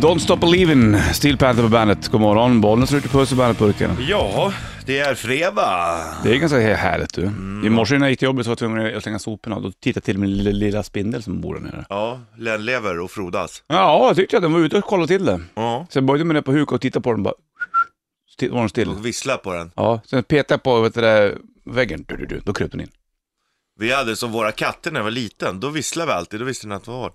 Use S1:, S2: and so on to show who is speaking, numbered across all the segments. S1: Don't Stop Believin', Steel Panther på bandet. God morgon, bollen slår ut i puss och bandetburken.
S2: Ja, det är fredag.
S1: Det är ganska härligt du. I morse när jag gick till jobbet så var jag tvungen att slänga soporna och då tittade jag till min lilla, lilla spindel som bor där nere.
S2: Ja, Len lever och frodas.
S1: Ja, jag tyckte att den var ute och kollade till det.
S2: Ja.
S1: Sen böjde jag mig ner på huk och tittade på den bara. Så var den still.
S2: Och visslar på den.
S1: Ja, sen petade jag på vet du, där, väggen, du, du, du. då kröp den in.
S2: Vi hade som våra katter när jag var liten, då visslade vi alltid, då visste den att det var.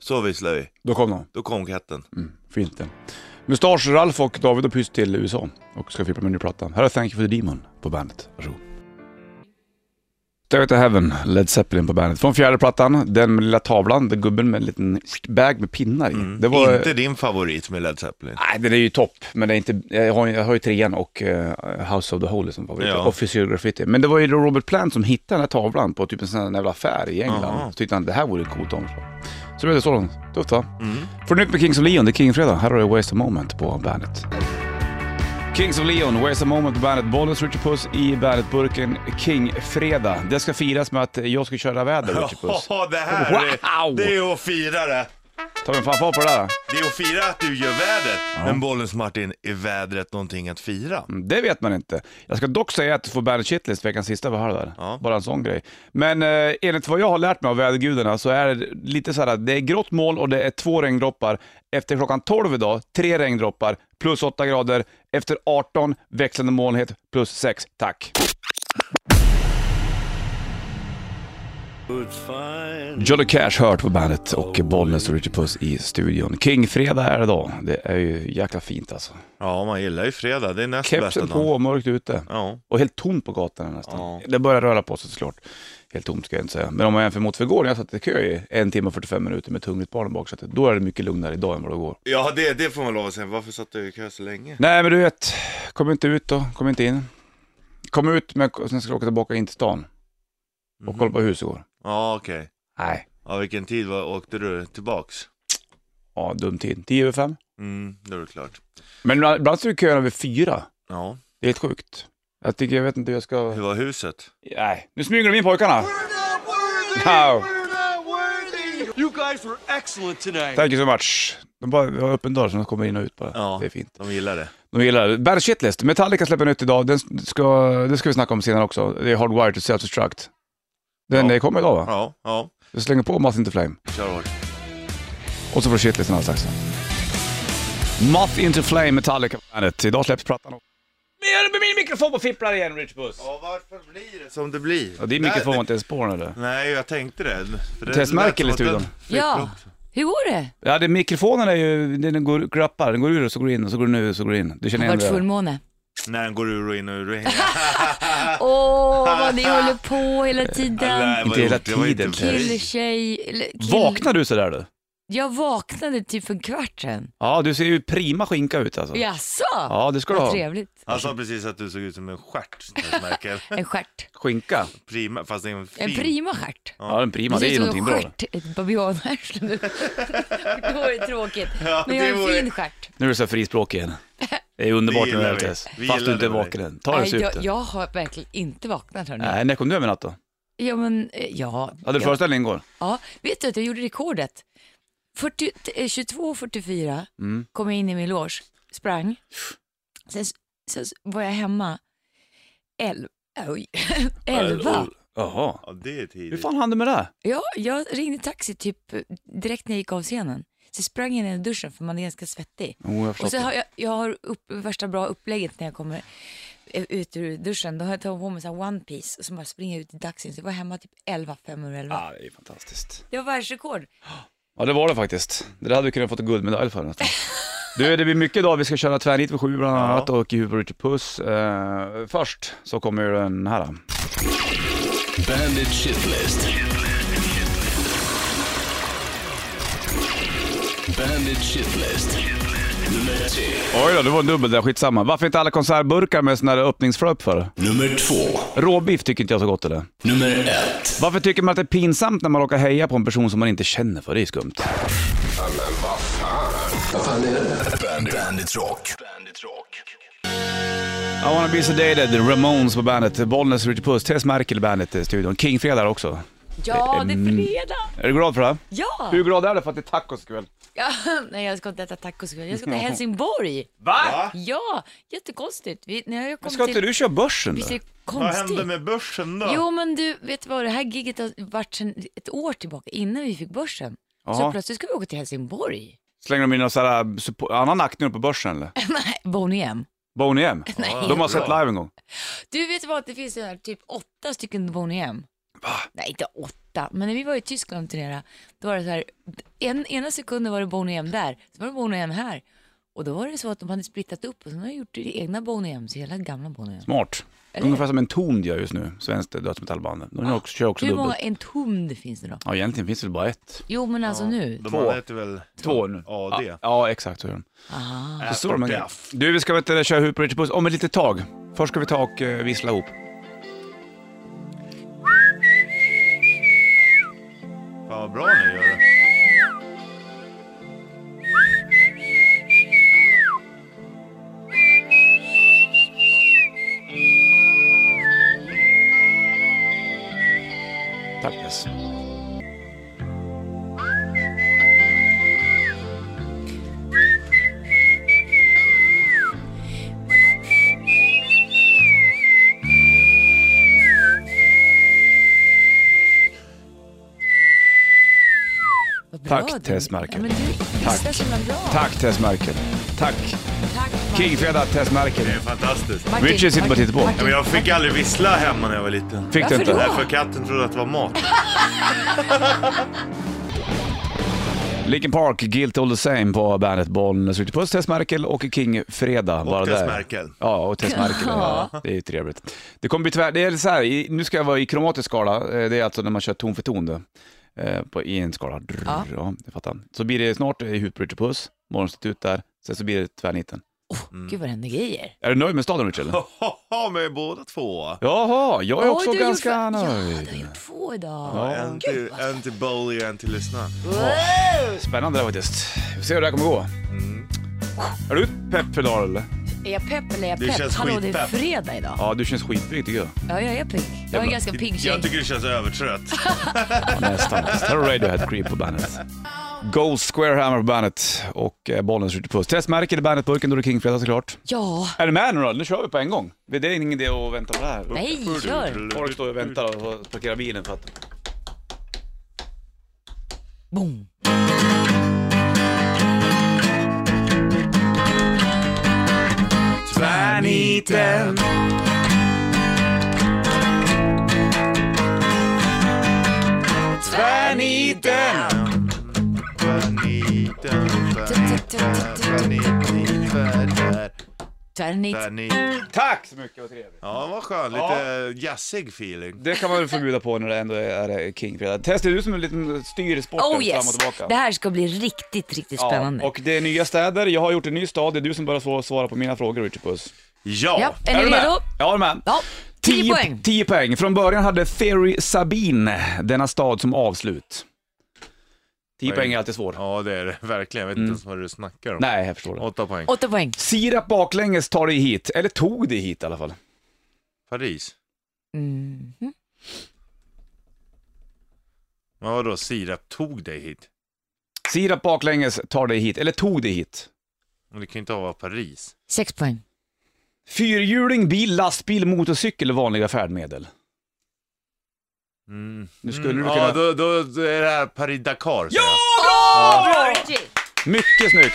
S2: Så visslade vi,
S1: Då kom den.
S2: då kom katten.
S1: Mm, fint det. Mustasch, Ralf och David har pyst till USA och ska flippa med en ny platta. Här är Thank You For The Demon på bandet. Varsågod. Stairway to Heaven, Led Zeppelin på bandet. Från fjärde plattan, den med lilla tavlan, där gubben med en liten bag med pinnar i.
S2: Mm.
S1: Det var...
S2: Inte din favorit med Led Zeppelin.
S1: Nej, den är ju topp, men det är inte... jag, har, jag har ju trean och eh, House of the Holy som favorit,
S2: Ja.
S1: och Physical Graffiti. Men det var ju då Robert Plant som hittade den här tavlan på typ en sån här jävla affär i England.
S2: Aha.
S1: Så tyckte han det här vore ett coolt omslag. Så blev det så. Tufft va?
S2: Mm.
S1: För nytt med Kings of Leon, det är King-fredag. Här har du Waste a Moment på bandet. Kings of Leon, Waste a Moment på bandet. Bollens Richard Puss i bandetburken King-fredag. Det ska firas med att jag ska köra väder, Richard Puss.
S2: Ja, det här är,
S1: Wow!
S2: det är att fira det.
S1: Ta en fanfar på det där.
S2: Det är att fira att du gör vädret. Men Bollens Martin, är vädret någonting att fira?
S1: Det vet man inte. Jag ska dock säga att du får Bandet Shitlist veckans sista vi har där.
S2: Ja.
S1: Bara en sån grej. Men eh, enligt vad jag har lärt mig av vädergudarna så är det lite så här att det är grått moln och det är två regndroppar. Efter klockan 12 idag, tre regndroppar, plus 8 grader. Efter 18, växlande molnighet, plus 6. Tack.
S2: Mm.
S1: Johnny Cash hört på bandet och Bollnäs och Richard Puss i studion. Kingfredag är det idag. Det är ju jäkla fint alltså.
S2: Ja, man gillar ju fredag. Det är näst Alltså, bästa
S1: Kepsen på
S2: dagen.
S1: och mörkt ute.
S2: Ja.
S1: Och helt tomt på gatorna nästan.
S2: Ja.
S1: Det börjar röra på sig såklart. Helt tomt ska jag inte säga. Men om man jämför mot förrgår när jag satt i kö i en timme och 45 minuter med tungt barn i baksätet. Då är det mycket lugnare idag än vad det går.
S2: Ja, det, det får man lov att säga. Varför satt du i kö så länge?
S1: Nej men du vet, kom inte ut då, kom inte in. Kom ut men sen ska jag åka tillbaka in till stan. Och
S2: Mhm.
S1: kolla på hus igår.
S2: Ja, okej.
S1: Nej,
S2: Ja, vilken tid var, åkte du tillbaks?
S1: ja dum tid. 10 över 5.
S2: Mm, då är det klart.
S1: Men ibland- ibland står det köerna vid 4.
S2: Ja,
S1: Det är helt sjukt. Jag tycker, jag vet inte hur jag ska...
S2: hur var huset?
S1: Nej, nu smyger de in pojkarna. No.
S3: You guys were excellent tonight.
S1: Thank you so much. De bara, vi har öppen dörr så de kommer in och ut bara.
S2: Ja,
S1: Det är fint.
S2: de gillar det.
S1: De gillar det. Bad Shitlist. Metallica släpper nytt idag. Den ska, det ska vi snacka om senare också. Det är Hardwired to Self-Destruct. Den
S2: Ja.
S1: eh, kommer idag va?
S2: Ja, ja,
S1: Vi slänger på Moth Into Flame.
S2: kör hårt.
S1: Och så får du shitlisten alldeles strax. Moth Into Flame, Metallica bandet. Idag släpps plattan. också. Men jag med min mikrofon på fipplar igen Rich Buss.
S2: Ja, varför blir det som det blir?
S1: Ja, din mikrofon var inte ens på den eller?
S2: Nej, jag tänkte det. För det
S1: Tess
S2: lät
S1: Merkel i
S2: som att den
S1: studion.
S2: fick
S4: Ja,
S2: upp.
S4: hur går det?
S1: Ja, det, mikrofonen är ju, den går, grappar. Den går ur och så går den in och så går den ut och så går den in. Du
S4: Det
S1: känner
S4: har
S1: igen
S4: varit
S1: det? där.
S4: fullmåne.
S2: När den går ur och in och ur och in. Ah.
S4: Åh, vad ni håller på hela
S2: Eh,
S4: tiden.
S2: Nej, vad
S1: Inte hela
S2: gjort, det var inte
S1: tiden,
S2: bra.
S4: Kill, tjej, eller kill.
S1: Vaknar du sådär du?
S4: Jag vaknade typ för en kvart sedan.
S1: Ja, du ser ju prima skinka ut alltså.
S4: Jaså?
S1: Ja, det ska du
S4: Vad
S1: ha.
S4: trevligt.
S2: Han sa precis att du såg ut som en stjärt, Tess Merkel.
S4: En stjärt.
S1: Skinka.
S2: Prima, fast det är en fin.
S4: En prima stjärt.
S1: Ja, den prima. Det är ju
S4: ser ut
S1: någonting
S4: som
S1: bra.
S4: en
S1: det.
S4: stjärt, ett babianarsle. Det vore tråkigt.
S2: Ja,
S4: Men jag
S2: det
S4: har en
S2: vore-
S4: fin stjärt.
S1: Nu är du så här frispråkig igen. Det är underbart
S2: Det
S1: med
S2: gillar
S1: det
S2: vi.
S1: här, Tess.
S2: Vi
S1: Fast du
S2: gillar
S1: inte är
S2: det.
S1: vaken än. Ta det
S4: Nej,
S1: sup
S4: jag, jag har verkligen inte vaknat hörni.
S1: Nej, när kom du över natt då?
S4: Ja men, eh, ja.
S1: Hade du
S4: ja,
S1: föreställning igår?
S4: ja. Vet du att jag gjorde rekordet? 40 eh, 22.44 kom jag in i min loge, sprang. Sen, s- sen s- var jag hemma elv, oj, elva.
S1: Jaha.
S2: Ja, det är tidigt.
S1: Hur fan hann du med det?
S4: Ja, jag ringde taxi typ eh, direkt när jag gick av scenen. Sen sprang jag ner i duschen för man är ganska svettig.
S1: Jo, jag
S4: Och så
S1: har
S4: har jag, jag har upp, värsta bra upplägget när jag kommer eh, ut ur duschen. Då har jag tagit på mig så här one piece och så bara springer ut i dagsljus. Jag var hemma typ 11, 5 över 11.
S1: Ja, Ah, det är ju fantastiskt.
S4: Det var världsrekord.
S1: Ja, det var det faktiskt. Det där hade du kunnat fått en guldmedalj för nästan. Du, det blir mycket idag. Vi ska köra tvärnit vid sju bland annat och i huvudet Richard Puss. Eh, först så kommer ju den här.
S5: Bandit Shitlist. Bandit Shitlist. Nummer tre.
S1: Oj då, det var en dubbel där. Skitsamma. Varför inte alla konservburkar med sån här öppningsflöp för?
S5: Nummer två.
S1: Råbiff tycker inte jag så gott eller?
S5: Nummer ett.
S1: Varför tycker man att det är pinsamt när man råkar heja på en person som man inte känner för? Det är ju skumt.
S5: Bandit, Bandit Rock. Bandit Rock.
S1: I wanna be sedated, Ramones på bandet, Bollnäs, Richard Puss, Tess Merkel i bandet i studion. Kingfredag också.
S4: Ja, det är fredag!
S1: Är du glad för det? här?
S4: Ja!
S1: Hur glad är du för att det är tacos ikväll?
S4: ja! Nej, jag ska inte äta tacos ikväll. Jag ska till Helsingborg.
S1: Va?
S4: Ja, jättekonstigt. Vi, när jag kom
S1: Ska
S4: till...
S1: inte du köra börsen
S4: Visst är
S1: då?
S4: det
S2: Vad
S4: konstigt?
S2: hände med börsen då?
S4: Jo, men du, vet du vad? Det här giget har varit sedan ett år tillbaka, innan vi fick börsen.
S1: Jaha.
S4: Så plötsligt ska vi åka till Helsingborg.
S1: Slänger de in någon sån här äh, suppo- annan aktning på börsen eller?
S4: Bonnie M.
S1: Boney M? De har sett live en gång.
S4: Du vet vad, det finns så här, typ åtta stycken Bonnie M. Va? Nej, inte åtta, men när vi var i Tyskland och turnerade, då var det så här, en, ena sekunden var det Bonnie M där, så var det Bonnie M här. Och då var det så att de hade splittat upp och sen har de gjort det egna Bonnie M, så hela gamla Bonnie M.
S1: Smart.
S4: Eller?
S1: Ungefär som Entombed gör just nu, svenskt dödsmetallband. De gör också, kör också
S4: Hur många
S1: dubbelt.
S4: Entombed finns det då?
S1: Ja, egentligen finns det väl bara ett.
S4: Jo, men alltså nu.
S2: De
S1: Två.
S2: andra heter väl... Äh,
S1: Två nu.
S2: Ja, det.
S1: Ja, ja exakt så gör de.
S4: Aha.
S1: Så står de en grej.
S2: Death.
S1: Du, vi ska väl inte köra huvud på Richard Puss om ett litet tag. Först ska vi ta och eh, vissla ihop.
S2: Fan vad bra ni gör det.
S1: Tack. Yes.
S4: Vad bra
S1: Tack,
S4: du-
S1: Tess Merkel.
S4: Ja, men du visslar så himla bra.
S1: Tack Tess Merkel. Tack.
S4: Tack
S1: Kingfredag Tess Merkel.
S2: Det är fantastiskt.
S4: Martin,
S1: Richard sitter bara och tittar på.
S2: Ja, men jag fick aldrig vissla hemma när jag var liten.
S1: Fick du
S4: Varför
S1: inte?
S4: då?
S2: Därför katten trodde att det var mat.
S1: Linkin Park, Guilt All The Same på bandet Bollnäs. Richard Puss, Tess Merkel och King Fredag.
S2: Och Tess Merkel.
S1: Ja, och Tess Merkel. ja. Det är ju trevligt. Det kommer bli tvär... Det är så här, i- nu ska jag vara i kromatisk skala. Eh, Det är alltså när man kör ton för ton då. Eh, På, I en skala. Drr, ja.
S4: Ja.
S1: jag fattar. Så blir det snart eh, huvud på Richard Puss, Morgonstitut där. Sen så blir det tvärniten.
S4: Åh, Gud vad det händer grejer.
S1: Är du nöjd med staden Richard? eller?
S2: Haha, med båda två.
S1: Jaha, jag är
S4: Oj,
S1: också
S4: du har gjort
S1: ganska
S4: fa- Ja, du har
S1: nöjd.
S4: gjort två idag.
S2: Ja, en, till, en till Bowley och en till Lyssna.
S4: Wow!
S1: Spännande det här faktiskt. Vi får se hur det här kommer gå. Mm. Är du pepp för idag eller?
S4: Är jag pepp eller är jag
S2: Det
S4: pepp?
S2: känns
S4: Hallå, det är
S2: skitpepp.
S4: fredag idag.
S1: Ja, du känns skitpigg tycker jag.
S4: Ja, jag är pigg. Jag är en ganska pigg tjej.
S2: Jag tycker det känns övertrött.
S1: Ja, nästan. Här har Radiohead Creep på bandet. Gold Square Hammer på bandet och eh, bollen skjuter puss. Tess Merkel i bandet-burken, då är det Kingfredag såklart.
S4: Ja,
S1: Är du med nu då? Nu kör vi på en gång. Det är ingen idé att vänta på det här.
S4: nej, kör.
S1: Folk står och väntar och parkerar bilen för att...
S4: Boom.
S1: Tvärniten. Tvärniten.
S2: Tvärniten, tvärniten, tvärniten, tvärnär,
S4: Tvärnit.
S2: tvärnit.
S1: Tack så mycket, vad trevligt.
S2: Ja, vad skön. Lite jazzig feeling.
S1: Det kan man väl förbjuda på när det ändå är är Kingfredag. Tess, det är du som är lite styr sporten
S4: Oh
S1: fram och
S4: yes.
S1: tillbaka.
S4: Det här ska bli riktigt, riktigt spännande.
S1: Ja, och det är nya städer, jag har gjort en ny stad, det är du som börjar svara- svara på mina frågor Richard Puss.
S2: Ja.
S4: Ja, är ni
S1: med?
S4: redo?
S1: Ja, är du med?
S4: Ja, 10
S1: Tio-
S4: poäng.
S1: 10 poäng. Från början hade Ferry Sabine denna stad som avslut. 10
S2: Poäng.
S1: poäng är alltid svårt.
S2: Ja, det är det verkligen. Jag vet inte ens vad du snackar om.
S1: Mm. Nej, jag förstår det.
S2: Åtta poäng.
S4: 8 poäng.
S1: Sirap baklänges tar dig hit, eller tog dig hit i alla fall.
S2: Paris.
S4: Mm.
S2: Men vadå, sirap tog dig hit?
S1: Sirap baklänges tar dig hit, eller tog dig hit.
S2: Men det kan ju inte vara Paris.
S4: 6 poäng.
S1: Fyrhjuling, bil, lastbil, motorcykel är vanliga färdmedel.
S2: Mm.
S1: Nu skulle du kunna...
S2: Ja, då, då, då är det här Paris-Dakar. säger jag.
S4: Bra Richie!
S1: Mycket snyggt!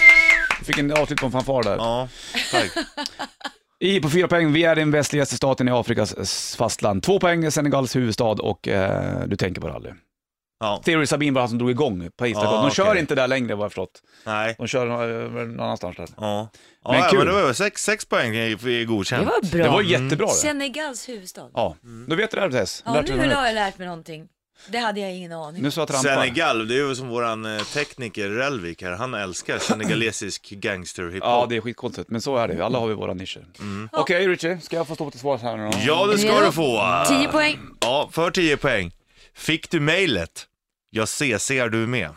S1: Fick en avslut på en fanfar där.
S2: Ja, tack.
S1: I på fyra poäng, vi är den västligaste staten i Afrikas s- fastland. Två poäng, Senegals huvudstad och eh, du tänker på rally.
S2: Ja,
S1: Theory Sabine var han som drog igång Paris
S2: Ah,
S1: De
S2: okej.
S1: kör inte där längre vad jag förstått.
S2: nej.
S1: De kör nå- någon annanstans där.
S2: Ja. Ja,
S1: Men
S2: men, ja,
S1: kul.
S2: men det var ju sex, sex poäng är är
S4: Det
S2: godkänt.
S4: var bra.
S1: Det var jättebra det.
S4: Senegals huvudstad.
S1: Ja, då vet du det här Tess.
S4: Ja,
S1: Lärt dig
S4: nu
S1: något nytt.
S4: har jag lärt mig någonting. Det hade jag ingen aning om.
S1: Nu så jag trampar.
S2: Senegal, det är ju som våran eh, tekniker Relvik här, han älskar senegalesisk gangsterhiphop.
S1: Ja, det är skitkoncept, men så är det ju. Alla har vi våra nischer. Okej Richie, ska jag få stå till svars här nu då?
S2: Ja, det ska
S4: Ja.
S2: du få!
S4: 10 poäng.
S2: Ja, för 10 poäng. Fick du mejlet? Jag CC'ar du med.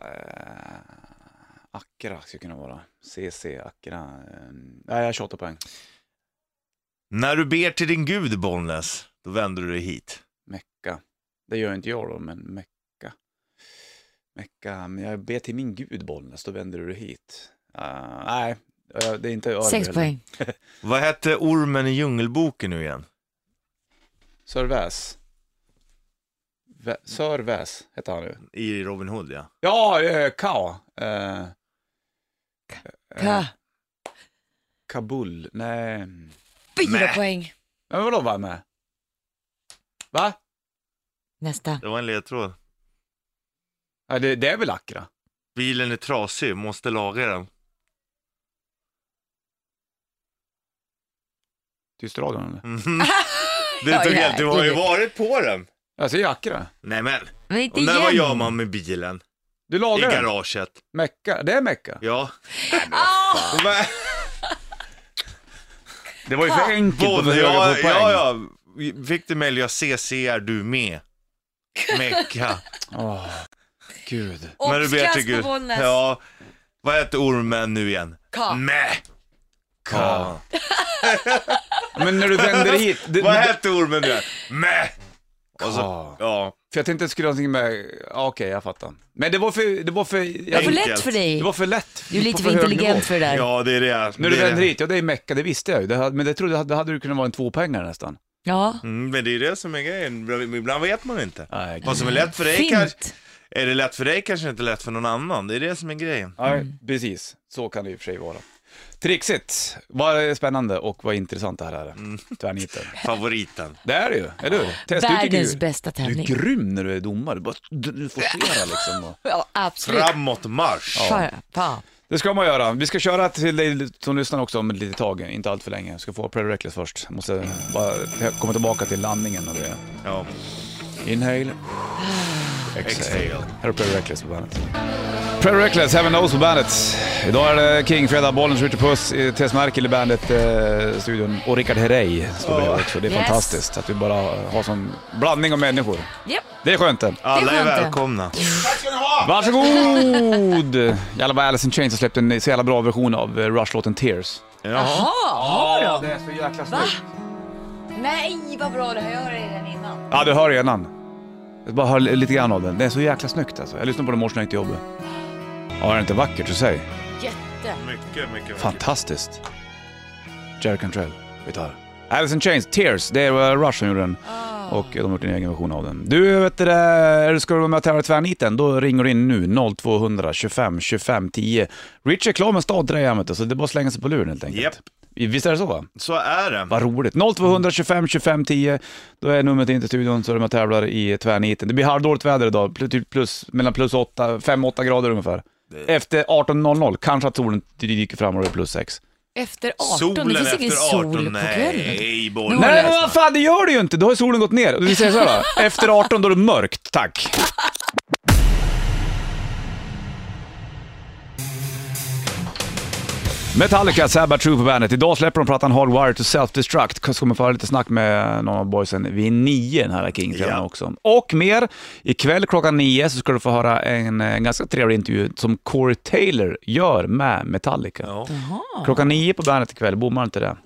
S1: Eh, Accra skulle kunna vara. CC, Accra. eh, Nej, jag har 28 poäng.
S2: När du ber till din gud, Bollnäs, då vänder du dig hit.
S1: Men Det gör inte jag då, men Mecka. Mecka, men jag ber till min gud Bollnäs, då vänder du dig hit. Ah, nej, eh, det är inte Örby
S4: Sex
S1: heller.
S4: poäng.
S2: Vad hette ormen i Djungelboken nu igen?
S1: Sörväs. Vä- Sörväs heter han nu.
S2: I Robin Hood ja.
S1: Ja, eh, Kao. Eh,
S4: Ja.
S1: Kabul. Nej. Men
S4: Fyra
S2: Mä.
S4: poäng.
S1: vadå var med? Va?
S4: Nästa.
S2: Det var en ledtråd.
S1: Ja, det, det är väl Accra?
S2: Bilen är trasig, måste laga den.
S1: Tyst radion eller?
S2: Mhm. Du,
S4: Ja,
S2: tog
S4: ja,
S2: helt, du har ju
S4: gud.
S2: varit på den.
S1: Jag säger Accra.
S2: Nej men,
S4: Men inte
S2: och när vad
S4: igen.
S2: gör man med bilen?
S1: Du
S2: I
S1: lagar den?
S2: garaget.
S1: Mecka. Det är Mecka?
S2: Ja.
S4: Ah!
S2: Men,
S1: Det var ju för enkelt att
S2: både,
S1: behöva
S2: ja,
S1: få poäng.
S2: ja, ja. Fick du mejl, jag CC är du med. Mecka.
S1: Åh, gud.
S4: Och
S2: Men du vet,
S4: klass
S2: tycker-
S4: på Bollnäs.
S2: Ja, vad heter ormen nu igen?
S4: Ka.
S2: Mä. Ka.
S1: Men när du vänder hit. Det,
S2: Vad
S1: det,
S2: hette ormen nu igen? Mä. Och
S1: Ka.
S2: så, ja.
S1: för jag tänkte att det skulle ha någonting med... ja, Okej, jag fattar. Men det var för... Det var för,
S4: Det var för
S1: jag,
S2: Enkelt.
S4: lätt för
S1: det
S4: dig.
S1: var för lätt.
S4: Du är lite
S1: På
S4: för
S1: hög
S4: intelligent
S1: nivå.
S4: för det där.
S2: Ja, det är det.
S1: När
S2: det
S1: du
S2: är det.
S1: vänder hit, ja det är Mecka, det visste jag ju. Det hade, men det trodde jag, det hade du kunnat vara en tvåpoängare nästan.
S4: Ja.
S2: Mm, men det är det som är grejen. Ibland vet man inte.
S1: Nej, gud.
S2: Vad som är lätt för dig kanske,
S4: Fint.
S2: är det lätt för dig kanske inte lätt för någon annan. Det är det som är grejen.
S4: Mm.
S1: Nej, precis. Så kan det i och för sig vara. Trixigt. Vad spännande och vad intressant det här är.
S2: Mm.
S1: Tvärniten.
S2: Favoriten.
S1: Det är det ju, eller hur? Tess, du tycker
S4: Världens
S1: ju-
S4: bästa
S1: Du är
S4: tävling.
S1: grym när du är domare. Du bara du, du forcerar liksom. Och...
S4: Ja, absolut.
S2: Framåt marsch.
S4: Fan, fan.
S1: Det ska man göra. Vi ska köra till dig som lyssnar också om ett litet tag, inte allt för länge. Jag ska få Predator Reckless först. Jag måste bara te- komma tillbaka till landningen och det.
S2: Ja.
S1: Inhale.
S2: Exhale.
S1: Här har Predator Reckless på bandet. Predator Reckless, Heaven Knows på bandet. Idag är det King, fredag, bollen skjuter puss. eh, Tess Merkel i bandet-studion och Rickard Herrey står bredvid också. Det är
S4: Yes.
S1: fantastiskt att vi bara har sån blandning av människor.
S4: Japp.
S1: Det är skönt det.
S2: Alla är
S4: skönt det.
S2: välkomna.
S1: Varsågod! Jävlar vad Alice in Chains har släppt en så jävla bra version av eh, Rush-låten Tears.
S2: Jaha.
S4: Jaha, har de?
S1: det är så jäkla
S4: Va? Nej, vad bra. Det har jag redan innan.
S1: Ja, du hör redan. Jag bara hör li- lite grann av den. Det är så jäkla snyggt alltså. Jag lyssnade på den i morse när jag gick till jobbet. Ja, är det inte vackert så säg?
S4: Jätte.
S2: Mycket, mycket, mycket.
S1: Fantastiskt. Jerry Cantrell, gitarr. Alice in Chains, Tears, det är Rush som gjorde den. Och eh, de har gjort en egen version av den. Du, vet du, det, ska du vara med och tävla i tvärniten, då ringer du in nu 0200 25 25 10. Rich är klar med stad till det här jämnet, så det är bara att slänga sig på luren helt enkelt.
S2: Japp.
S1: Visst är det så? Va?
S2: Så är det.
S1: Vad roligt. 0200 25 25 10. Då är numret in till studion så är de och tävlar i tvärniten. Det blir halvdåligt väder idag, pl- typ plus, mellan plus 8, 5-8 grader ungefär. Efter 18.00 kanske att solen dyker fram och det är plus 6.
S4: Efter 18.
S2: Solen
S4: det finns ingen
S2: efter 18.
S4: sol på kvällen.
S2: Nej, bollen.
S1: Nej men vad fan, det gör det ju inte! Då har solen gått ner. Vi säger så här då, efter 18 då är det mörkt, tack. Metallica, Sabbath, True på bandet. Idag släpper de plattan Hardwired to Self-Destruct. Så kommer få höra lite snack med någon av boysen vid nio, den här king
S2: Ja.
S1: också. Och mer, ikväll klockan nio så ska du få höra en, eh, ganska trevlig intervju som Corey Taylor gör med Metallica.
S2: Ja.
S1: Klockan nio på bandet ikväll, bommar inte det?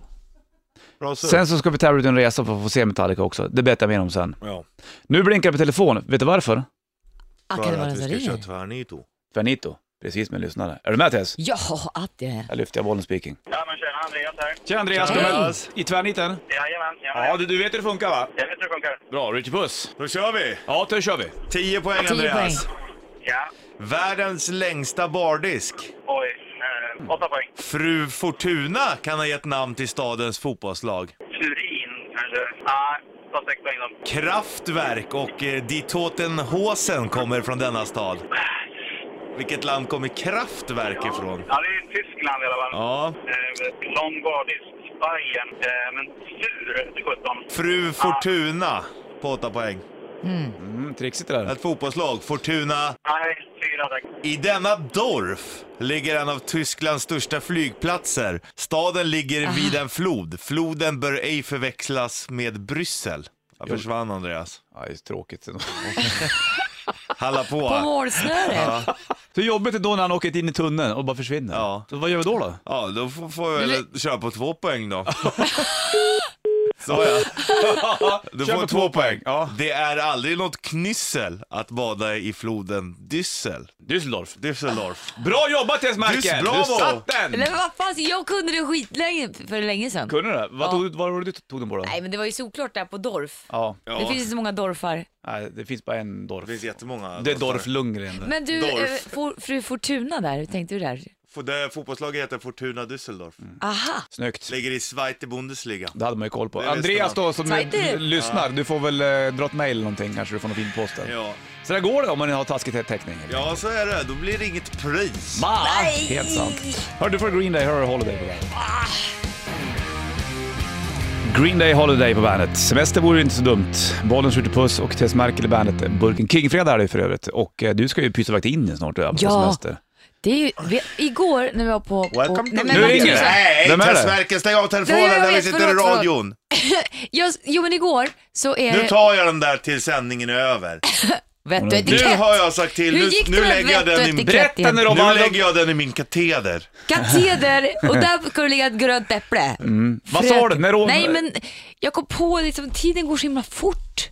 S2: Bra surr.
S1: Sen så ska vi tävla ut en resa för att få se Metallica också. Det berättar jag mer om sen.
S2: Ja.
S1: Nu blinkar det på telefon. Vet du varför?
S4: Ah, kan det
S2: För
S4: vara
S2: att
S4: någon som
S2: vi ska köra
S4: ringer?
S2: tvärnito.
S1: Tvärnito. Precis med lyssnare. Är du med Tess?
S4: Ja, att det är.
S1: Här lyfter jag bollen speaking.
S6: Ja, men tjena, Andreas här.
S1: Tjena Andreas,
S4: Hej.
S1: i tvärniten?
S6: Jajamän, jajamän.
S1: Ja, du, du vet hur det funkar va?
S6: Jag vet hur det funkar.
S1: Bra, Richie Puss.
S2: Då kör vi!
S1: Ja, då kör vi.
S2: 10 poäng
S4: 10
S2: Andreas.
S6: Ja.
S2: Världens längsta bardisk.
S6: Oj. Eh, åtta poäng.
S2: Fru Fortuna kan ha gett namn till stadens fotbollslag.
S6: Turin, kanske. Nej, ta sex poäng då.
S2: Kraftwerk och eh, Die Toten Hosen kommer från denna stad. Vilket land kommer Kraftwerk ifrån?
S6: Ja, det är Tyskland i alla fall.
S2: Ja.
S6: Eh, lång gardisk, Bayern. Eh, men sur, till sjutton.
S2: Fru Fortuna på 8 poäng.
S1: Mm, trixigt det där.
S2: Ett fotbollslag, Fortuna.
S6: Nej, fyra tack.
S2: I denna Dorf ligger en av Tysklands största flygplatser. Staden ligger vid en flod. Floden bör ej förväxlas med Bryssel. Jag försvann Andreas.
S1: Ja, det är tråkigt.
S2: Halla på.
S4: På målsnöret.
S1: Hur jobbigt är då när han åker in i tunneln och bara försvinner?
S2: Ja.
S1: Så vad gör vi då då?
S2: Ja, då får, får jag väl
S4: Eller-
S2: köra på två poäng då. Såja. Du
S1: Kör
S2: får
S1: på
S2: två poäng.
S1: Ja.
S2: Det är aldrig något knyssel att bada i floden Düssel.
S1: Düsseldorf.
S2: Düsseldorf.
S1: Bra jobbat Jens
S2: Dyss-
S1: Merkel!
S2: bravo!
S1: Du satt den!
S4: Men vad fan, jag kunde det skitlänge för länge sedan.
S1: Kunde du det? Vad
S4: Ja.
S1: tog, vad var det du tog den på då?
S4: Nej, men det var ju såklart där på Dorf.
S1: Ja.
S4: Det finns inte så många Dorfar.
S1: Nej, det finns bara en Dorf.
S2: Det finns jättemånga.
S1: Det är Dorf Lundgren. det.
S4: Men du,
S2: Dorf.
S4: eh, for, fru Fortuna där, hur tänkte du där?
S2: F- Det fotbollslaget heter Fortuna Düsseldorf.
S1: Mm.
S4: Aha,
S1: Snyggt.
S2: Ligger i Zweite Bundesliga.
S1: Det hade man ju koll på.
S2: Det visste
S1: Andreas
S2: man.
S1: då som
S4: Tajt
S1: eh,
S4: ut.
S1: lyssnar, du får väl eh, dra ett mejl eller någonting kanske du får någon fin post där.
S2: Ja.
S1: Så där går det om man har taskig täckning.
S2: ja, så är det. Då blir det inget pris.
S1: Ma! Helt sant. Hör du får Green Day, hör Holiday på bandet.
S4: Ah.
S1: Green Day Holiday på bandet. Semester vore inte så dumt. Bollen skjuter puss och Tess Merkel i bandet. Burken King-fredag är det för övrigt. Och eh, du ska ju pysa vakt in snart, du, apropå
S4: Ja.
S1: semester.
S4: det är ju, vi, igår när vi var på... på
S2: Welcome to...
S4: Nej, men
S1: Nu
S4: vad
S1: ringer
S4: tusan.
S1: det.
S2: Nej,
S1: Vem är det?
S2: Tess Merkel, stäng av
S4: Nej, jag
S2: telefonen när vi
S4: vet,
S2: sitter i
S4: förlåt, Eh. förlåt.
S2: radion.
S4: Jag, jo men igår så är
S2: Nu
S4: det...
S2: tar jag den där till sändningen är över.
S4: Vett och
S2: Nu
S4: etikett!
S2: har jag sagt till.
S4: Hur
S2: Nu,
S4: gick det
S2: nu
S4: med
S2: lägger jag
S4: vett och
S2: den i...
S4: etikett?
S1: Berätta när de
S2: Nu
S1: har...
S2: lägger jag den i min kateder.
S4: Kateder! Och där kunde ligga ett grönt äpple.
S1: Mm. Vad
S4: Fröken-
S1: sa du? När de...
S4: Nej men jag kom på liksom, tiden går så himla fort.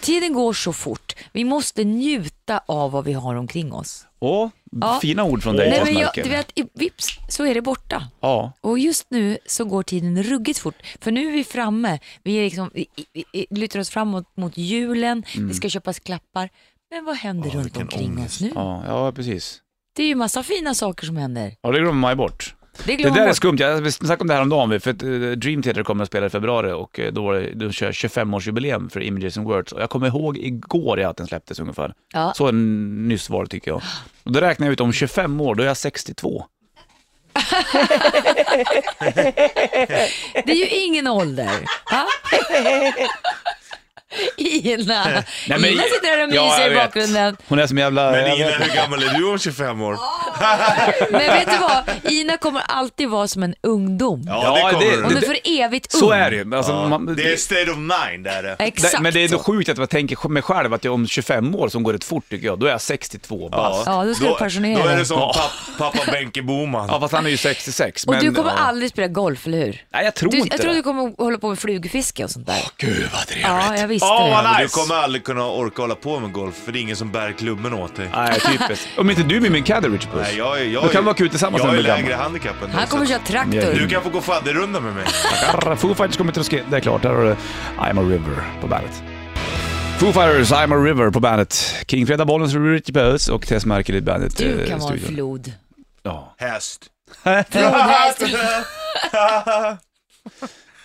S4: Tiden går så fort. Vi måste njuta av vad vi har omkring oss.
S1: Åh,
S4: Ja.
S1: fina ord från dig,
S4: Nej,
S1: Tess
S4: men jag,
S1: Merkel.
S4: du vet, i- vips så är det borta.
S1: Ja.
S4: Och just nu så går tiden ruggigt fort. För nu är vi framme. Vi, är liksom, i, i, i, lutar oss framåt mot julen.
S1: Mm.
S4: Det ska köpas klappar. Men vad händer runt
S2: vilken
S4: omkring
S2: ångest.
S4: oss nu?
S1: Ja, ja, precis.
S4: Det är ju massa fina saker som händer.
S1: Ja, det glömmer man ju bort.
S4: Det
S1: Det
S4: glömmer
S1: där
S4: man
S1: är
S4: bort.
S1: skumt. Jag snackade om det här om dagen, för att eh, Dream Theater kommer att spela i februari och eh, då var det, de kör 25-årsjubileum för Images and Words. Och jag kommer ihåg igår ja, att den släpptes ungefär.
S4: Ja.
S1: Så en nyss var det tycker jag. Och då räknar jag ut om 25 år, då är jag 62.
S4: Det är ju ingen ålder. Va? Ina.
S1: men-
S4: Ina sitter här och myser
S1: Ja, jag
S4: i
S1: vet.
S4: bakgrunden.
S1: Hon är som en jävla...
S2: Men
S1: jag
S2: Ina,
S1: vet inte.
S2: hur gammal är du om 25 år?
S4: Men vet du vad? Ina kommer alltid vara som en ungdom.
S2: Ja,
S1: Ja,
S2: det kommer
S1: det-
S2: du.
S4: Hon är för evigt ung.
S1: Så är det ju. Alltså,
S2: Ja,
S1: man-
S2: det är state of mind är det.
S4: Exakt.
S1: men det är
S4: så.
S1: så sjukt att jag tänker mig själv att jag om 25 år, som går rätt fort tycker jag, då är jag 62 bast. Ja.
S4: Ja, då ska du pensionera
S2: Då är det
S4: dig.
S2: som
S1: Ja.
S2: papp, pappa Benke Boman.
S1: fast han är ju 66.
S4: Och
S1: men,
S4: du kommer
S1: ja.
S4: aldrig spela golf, eller hur?
S1: Nej, jag tror
S4: Du,
S1: inte
S4: jag tror
S1: det.
S4: du kommer hålla på med flugfiske och sånt där.
S1: Gud vad trevligt.
S4: Ja, jag visste
S1: Åh, vad
S4: det.
S1: nice.
S2: Du kommer aldrig kunna orka hålla på med golf för det är ingen som bär klubben åt dig.
S1: Nej, typiskt. Om inte du blir min caddy, Rich Puss.
S2: Nej, jag, är- jag,
S1: Då
S2: är-
S1: kan vi åka ut tillsammans
S2: Jag
S1: när
S2: är
S1: vi blir
S2: lägre
S1: gamla.
S2: handikapp än
S4: Han
S2: dig,
S4: kommer
S2: så
S4: köra
S2: att-
S4: traktor.
S2: Du kan få gå fadderrunda med mig.
S1: Arr, Foo Fighters kommer till oss. Det är klart, där har du I'm a River på bandet. Foo Fighters, I'm a River på bandet. King Freda Bollens Rich Puss och Tess Merkel i bandet.
S4: Du
S1: eh,
S4: kan vara en
S1: studion.
S4: flod.
S1: Ja,
S2: Häst.
S4: Flodhäst.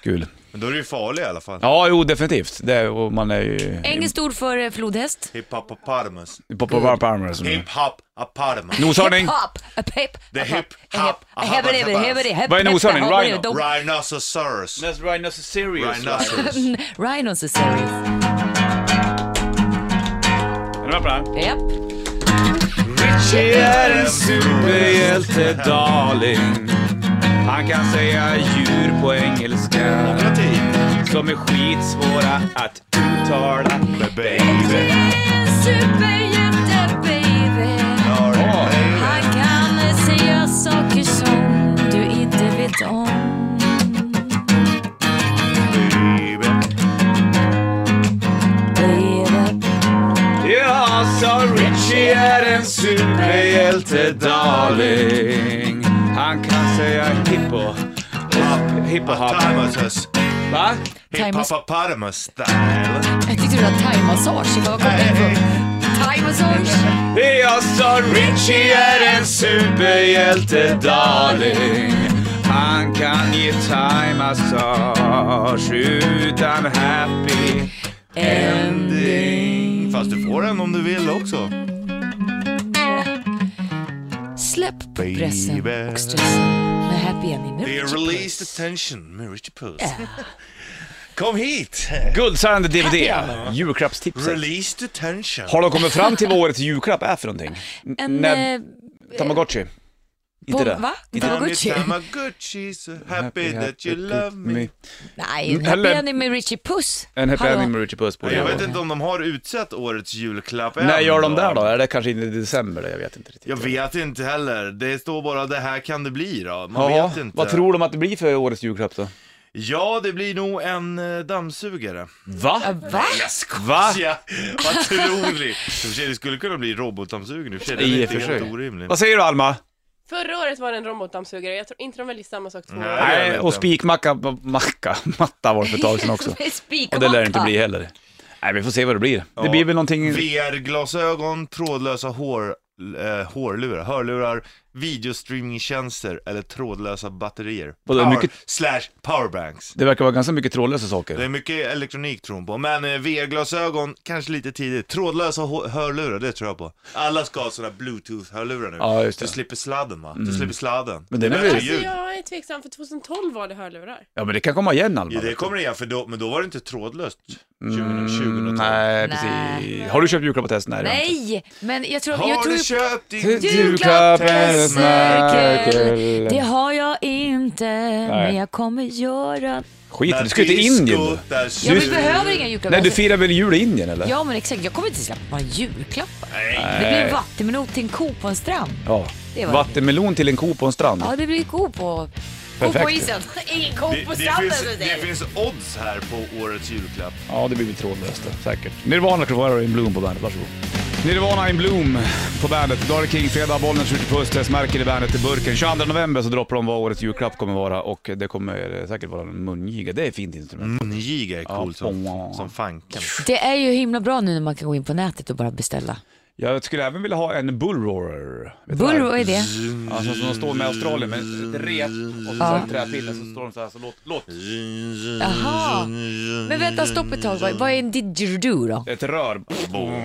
S1: kul.
S2: Men då är du ju farlig i alla fall.
S1: Ja, jo definitivt. Det är, och man är ju...
S4: Engelskt ord för eh, flodhäst.
S2: Hip hop a parmus.
S1: På, på, på, på armar som
S2: Hip hop a parmus.
S1: Noshörning.
S4: Hip-hop, a pip,
S2: The
S4: a
S2: hip,
S4: pop, a
S2: hop,
S4: hip, a
S2: a
S4: hebbe,
S2: hop,
S4: hebbe,
S2: a
S4: hebbe, hebbe,
S1: Vad är
S4: hebbe,
S1: noshörning?
S4: hebbe,
S1: Rhino?
S4: dom-
S2: Rhinoceros.
S1: That's right, not serious.
S2: Rhinoceros.
S4: Mm. Rhinos is serious.
S1: Är du med på det här?
S4: Japp.
S1: Richie är en superhjälte darling Han kan säga djur på engelska
S2: Demokrati.
S1: Som är skitsvåra att uttala
S2: Baby.
S4: Superhjälte baby. Han kan säga saker som du inte vet om. Baby.
S1: Ja, sa Richie är en superhjälte darling Han kan säga hippo Hop- Hippo hop.
S2: Parmus.
S1: Va?
S2: Hip hop a parmus style.
S4: Jag tyckte du hade thaimassage. Vad kom det ifrån? Thaimassage.
S1: Jag sa Richie är en superhjälte darling Han kan ge thaimassage utan happy ending
S2: Fast du får den om du vill också.
S4: Släpp på pressen
S2: Baby.
S4: och stressen med Happy Ending. med
S2: Det är
S4: Richard
S2: Release
S4: Puss.
S2: the Tension med Richard Puss. Kom hit!
S1: Guldsand DVD,
S4: Happy hour.
S1: julklappstips.
S2: Release the Tension.
S1: Har de kommit fram till vad årets julklapp är för någonting? N-
S4: En,
S1: när-
S4: eh,
S1: Tamagotchi? Inte det?
S4: Va? Tamagotchi?
S2: Tamagotchi, so happy that you love me.
S4: Nej, en
S1: Eller-
S4: Happy Ending med Richie Puss.
S1: En happy
S4: Hallå.
S1: ending med Richie Puss på
S2: Jag
S1: det.
S2: vet inte om de har utsett årets julklapp än.
S1: När gör de där då? Är det kanske in i december? Jag vet inte riktigt.
S2: Jag vet inte heller. Det står bara det här kan det bli då. Man
S1: Ja,
S2: vet inte.
S1: vad tror de att det blir för årets julklapp då?
S2: Ja, det blir nog en eh, dammsugare.
S1: Va?
S4: Ja, va?
S2: Va?
S1: Ah.
S2: Ja, vad tror ni? I och för sig, det skulle kunna bli robotdammsugaren i och för sig. Den
S1: I
S2: är
S1: och för
S2: inte
S1: sig.
S2: helt orimlig.
S1: Vad säger du Alma?
S7: Förra året var det en robotdammsugare, jag tror inte de väljer samma sak två
S2: Nej.
S7: år.
S2: jag
S1: Nej,
S2: vet
S1: och
S2: inte.
S1: spikmacka, macka, matta var det för ett tag sedan också.
S4: Spik
S1: Och det lär det inte bli heller. Nej, vi får se vad det blir. Det
S2: Ja.
S1: blir väl någonting...
S2: VR-glasögon, trådlösa hår, eh, hårlurar, hörlurar, videostreamingtjänster eller trådlösa batterier.
S1: Vadå,
S2: Power,
S1: mycket-
S2: Slash powerbanks.
S1: Det verkar vara ganska mycket trådlösa
S2: Det
S1: saker.
S2: är mycket elektronik tror hon på, men eh, VR-glasögon kanske lite tidigt. Trådlösa hå- hörlurar, det tror jag på. Alla ska ha sådana bluetooth-hörlurar nu.
S1: Ja, just det. Mm.
S2: Du slipper sladden va? Du slipper sladden.
S1: Men det är väl-
S2: blir
S7: Alltså
S2: ljud.
S7: jag är tveksam, för 2012 var det hörlurar.
S1: Ja, men det kan komma igen Alma.
S2: Ja, det kommer igen, för då, men då var det inte trådlöst. 20,
S1: Mm,
S2: 2012.
S1: nej,
S4: Nej.
S1: precis. Har du köpt julklapp åt hästen?
S4: Nej, men jag tror... jag
S2: Har
S4: tror
S2: du köpt din
S1: Julklapp eller
S4: snökel?
S1: snökel?
S4: Det har jag inte, men jag kommer göra...
S1: Skit du ska ju till Indien du.
S4: Ja, men
S2: Du...
S4: vi behöver inga julklappar.
S1: Nej, du
S4: Alltså,
S1: firar väl jul i Indien eller?
S4: Ja, men exakt. Jag kommer inte släppa några julklappar.
S2: Nej.
S4: Det blir vattenmelon till en ko på en strand.
S1: Ja.
S4: Det var
S1: Vattenmelon till en ko på en strand.
S4: Ja, det blir ko på... Ko
S1: Perfekt.
S4: på isen. Ingen ko
S2: Det,
S4: på
S2: det,
S4: stranden.
S2: finns,
S4: så att säga.
S2: det finns odds här på årets julklapp.
S1: Ja, det blir väl trådlöst då, säkert. Nirvana Crovaro in Bloom på bandet, varsågod. Nirvana in Bloom på bandet. Då är det King, fredag, bollen skjuter puss, Tess Merkel i bandet i burken. 22 november så droppar de vad årets julklapp kommer vara och det kommer säkert vara en mungiga. Det är ett fint instrument.
S2: Mungiga är coolt som, som fanken.
S4: Det är ju himla bra nu när man kan gå in på nätet och bara beställa.
S1: Jag skulle även vilja ha en bullroarer. Vet du vad
S4: Bull, vad
S1: det
S4: är det?
S1: är? Alltså som de står med i Australien med ett rep och så
S4: Ja.
S1: en träpinne så står de så här så låt, låt.
S2: Mm.
S4: Jaha. Men vänta, stopp ett tag. Vad vad är en didgeridoo då?
S1: Ett rör.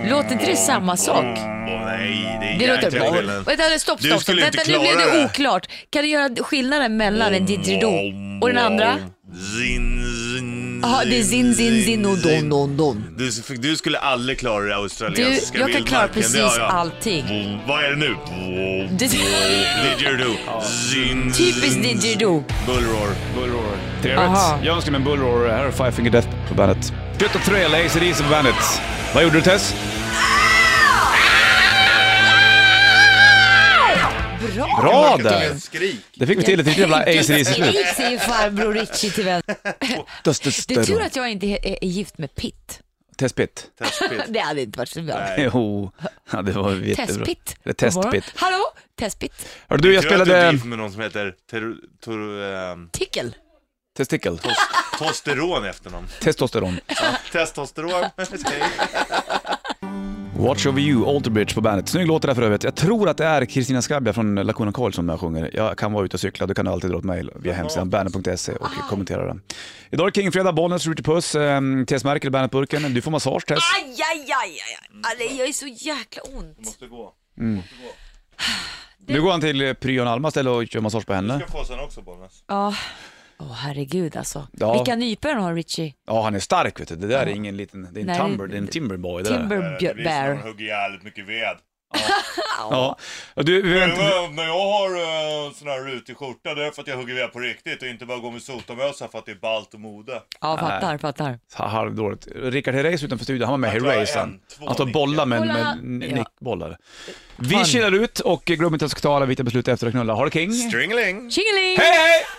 S4: Låter inte det samma sak?
S2: Åh, nej, det är
S4: Det låter
S2: jäkla
S4: bra.
S2: skillnad.
S4: Vänta, stopp, stopp,
S2: Du
S4: stopp.
S2: skulle inte
S4: Vänta, nu blev
S2: klara
S4: det
S2: det.
S4: oklart. Kan du göra skillnaden mellan en didgeridoo och den andra?
S2: Zin, zin,
S4: Jaha, det är zin, zin, zin och don, don, don.
S2: Du, du skulle aldrig klara det
S4: Du,
S2: australiensiska
S4: jag kan klara
S2: vildmarken, det har
S4: precis
S2: jag.
S4: allting.
S2: Boom. Vad är det nu? Boom.
S4: Det-
S2: Didgeridoo. Zin,
S4: Typiskt didgeridoo.
S2: Bullroar.
S1: Bullroar.
S4: Aha.
S1: Trevligt. Jag önskar mig en bullroar. Här är Five Finger Death på bandet. Gutt och Trail, ACDC på bandet. Vad gjorde du Tess?
S4: Bra!
S1: Bra där!
S2: Vilket skrik.
S1: Det fick vi till ett riktigt jävla ACDC-slut.
S4: Skrik, säger farbror Richie till vänster. Det är tur att jag inte är är gift med Pitt.
S1: Testpit.
S2: Testpit.
S4: Det hade inte varit så bra.
S2: Nej.
S1: Jo, ja, det var jättebra.
S4: Testpit.
S1: Det är
S4: God morgon.
S1: testpit.
S4: Hallå? Testpit?
S1: Hörru du, jag
S2: Tror att du är
S1: spelade
S2: gift med någon som heter ter, ter, ehm,
S4: Tickel?
S1: testikel.
S2: Tosteron efter någon.
S1: Testosteron.
S2: Testosteron.
S1: Watch Over You, Alterbridge på bandet. Snygg låt det där för övrigt. Jag tror att det är Kristina Skabja från Lacuna Coil som jag sjunger. Jag kan vara ute och cykla, du kan alltid dra ett mejl via hemsidan bandet.se och kommentera den. Idag är det Kingfredag, Bollnäs, Ritchie Puss, ehm, Tess Merkel, Bandet-burken. Du får massage Tess.
S4: Aj, aj, aj, aj. aj. Det gör ju så jäkla ont.
S2: Måste gå.
S1: Nu går han till eh, Pryon Alma istället och kör massage på henne.
S2: Ska få sen också Bollnäs.
S4: Ja. Åh, herregud alltså.
S1: Ja.
S4: Vilka nypor han har, Richie.
S1: Ja, han är stark vet du. Det där är ingen liten, det är en
S4: Nej,
S1: timber, det är en timberboy det där.
S2: Eh,
S4: Timber bear.
S2: hugger jävligt mycket ved.
S1: Ja. Och Du, vi
S2: Men vad- När jag har eh, sån här rutig skjorta det är för att jag hugger ved på riktigt och inte bara går med sotarmössa för att det är ballt och mode.
S4: Ja, fattar, fattar.
S1: Ha- halvdåligt. Rickard Herreys utanför studion, han var med i
S2: Jag tror jag
S1: Herreys
S2: en,
S1: han.
S2: två
S1: Han står och bollar med, med
S4: Bollar.
S1: n-
S4: Ja.
S1: nickbollar. Vi chillar ut och glöm inte att jag ska ta alla vita beslut efter att knulla. Ha det king!
S2: Stringeling!
S4: Tjingeling!
S1: Hej hej!